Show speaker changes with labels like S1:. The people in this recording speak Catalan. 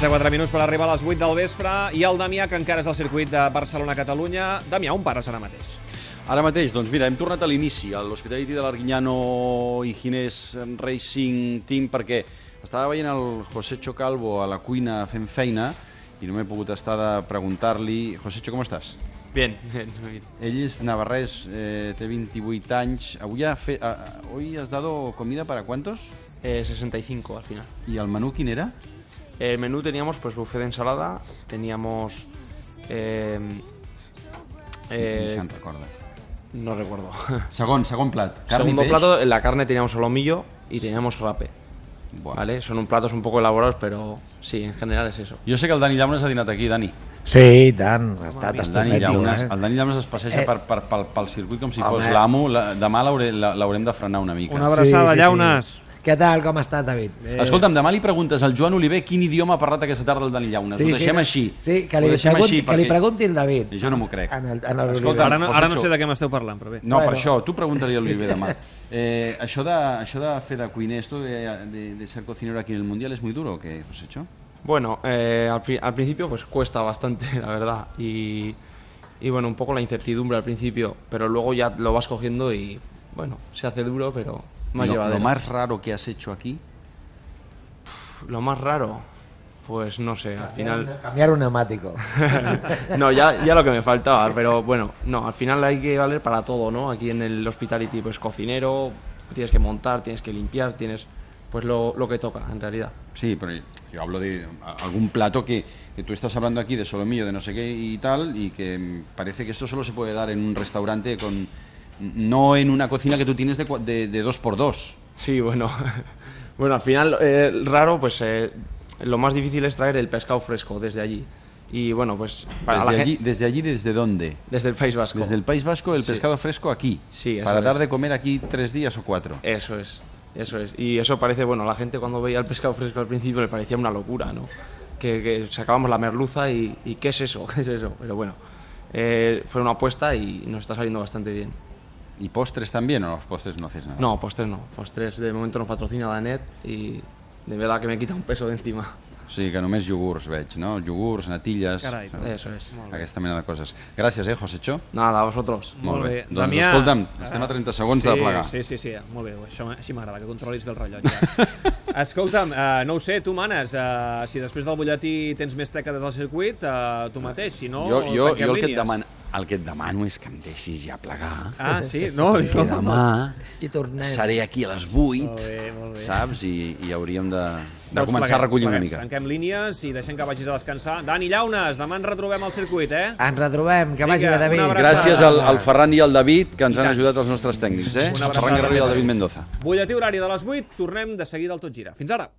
S1: de 4 minuts per arribar a les 8 del vespre i el Damià, que encara és al circuit de Barcelona-Catalunya. Damià, on pares ara mateix?
S2: Ara mateix, doncs mira, hem tornat a l'inici, a l'Hospitality de l'Arguiñano i Ginés Racing Team, perquè estava veient el José Chocalvo a la cuina fent feina i no m'he pogut estar de preguntar-li... José Cho, com estàs?
S3: Bien, bien, muy bien.
S2: Ell és navarrès, eh, té 28 anys. Avui ha fe... a, a, hoy has dado comida para cuántos?
S3: Eh, 65 al final.
S2: I el menú quin era?
S3: El menú teníamos pues buffet de ensalada, teníamos... eh, eh,
S2: Ni se'n recorda.
S3: no recuerdo.
S2: Segon, segon plat. Carn
S3: Segundo
S2: i peix.
S3: plato, en la carne teníamos solomillo y teníamos rape.
S2: Buah.
S3: ¿Vale? Son un platos un poco elaborados, pero sí, en general es eso.
S2: Jo sé que el Dani Llaunes ha dinat aquí, Dani.
S4: Sí, i tant, ha estat
S2: El Dani,
S4: estupendo.
S2: Llaunes,
S4: Eh?
S2: el Dani Llaunes es passeja
S4: Eh.
S2: per, per, pel, pel circuit com si
S4: Home.
S2: fos l'amo. La, demà l'haure- la- l'haurem de frenar una mica.
S1: Una abraçada, Llaunes.
S4: Què tal, com ha estat, David? Eh,
S2: Escolta'm, demà li preguntes al Joan Oliver quin idioma ha parlat aquesta tarda el Dani Llaunes. Sí, Ho deixem
S4: no?
S2: així.
S4: Sí, que li,
S2: Ho deixem
S4: pregunti,
S2: així
S4: que li
S2: perquè-
S4: pregunti el David.
S2: Jo no m'ho crec.
S4: En el, en el
S2: Escolta,
S1: Ara no, ara no
S2: José
S1: sé de què m'esteu parlant, però bé.
S2: No,
S4: Bueno.
S2: per això, tu pregunta-li a l'Oliver demà. Eh, això, de, això de fer de cuiner, esto de, de, de ser cocinero aquí en el Mundial, ¿es muy duro o qué, José Cho?
S3: Bueno, eh, al, pri- al principio pues cuesta bastante, la verdad. Y, y bueno, un poco la incertidumbre al principio, pero luego ya lo vas cogiendo y bueno, se hace duro, pero más
S2: Lo,
S3: llevadero.
S2: lo más raro que has hecho aquí.
S3: Lo más raro, pues no sé, al final...
S4: Cambiar un neumático.
S3: No, ya, ya lo que me faltaba, pero bueno, no, al final hay que valer para todo, ¿no? Aquí en el hospitality, pues cocinero, tienes que montar, tienes que limpiar, tienes pues lo, lo que toca, en realidad.
S2: Sí, pero yo hablo de a- algún plato que, que tú estás hablando aquí de solomillo, de no sé qué y tal, y que mm, parece que esto solo se puede dar en un restaurante con... No en una cocina que tú tienes de, cua- de, de dos por dos.
S3: Sí, bueno, bueno, al final, eh, raro, pues eh, lo más difícil es traer el pescado fresco desde allí. Y bueno, pues para
S2: desde,
S3: la
S2: allí,
S3: gente...
S2: ¿Desde allí desde dónde?
S3: Desde el País Vasco.
S2: Desde el País Vasco, el
S3: Sí.
S2: pescado fresco aquí.
S3: Sí, eso
S2: Para dar
S3: es. Eh.
S2: de comer aquí tres días o cuatro.
S3: Eso es, eso es. Y eso parece, bueno, la gente cuando veía el pescado fresco al principio le parecía una locura, ¿no? Que, que sacábamos la merluza y, y ¿qué es eso? ¿Qué es eso? Pero bueno, eh, fue una apuesta y nos está saliendo bastante bien.
S2: ¿Y postres también o los postres no haces nada?
S3: No, postres no. Postres de momento nos patrocina la NET y de verdad que me quita un peso de encima.
S2: Sí, que només iogurts veig, no? Iogurts, natilles...
S1: Carai, pues,
S2: saps?
S3: Eso es.
S2: Aquesta mena de coses. Gràcies, eh, José Cho?
S3: Nada, a vosotros.
S1: Molt bé.
S2: Doncs
S1: Damià,
S2: escolta'm,
S1: eh,
S2: estem a 30 segons
S1: sí,
S2: de plegar.
S1: Sí, sí, sí, molt bé, això, així m'agrada, que controlis bé el rellotge. Escolta'm, eh, no ho sé, tu manes, eh, si després del butlletí tens més teca del circuit, eh, tu mateix, si no,
S2: jo, jo,
S1: tanquem
S2: jo el, que et
S1: línies.
S2: demano, el que et demano és que em deixis ja plegar.
S1: Ah, sí? No,
S2: Que
S1: jo...
S2: demà
S4: I tornem.
S2: seré aquí a les 8,
S1: Molt bé, molt bé.
S2: saps? I, i hauríem de, de
S1: Doncs
S2: començar
S1: pleguem,
S2: a recollir una
S1: pleguem.
S2: mica.
S1: Tanquem línies i deixem que vagis a descansar. Dani Llaunes, demà ens retrobem al circuit, eh?
S2: Ah.
S4: Ens retrobem, que vagi
S1: Vinga,
S4: bé, David.
S1: una abraçada.
S2: Gràcies al, al Ferran i al David, que ens han ajudat els nostres tècnics, eh?
S1: Una
S2: El
S1: abraçada,
S2: Ferran Guerrero i el
S1: David.
S2: David Mendoza.
S1: Butlletí horari de les 8, tornem de seguida al Tot Gira. Fins ara!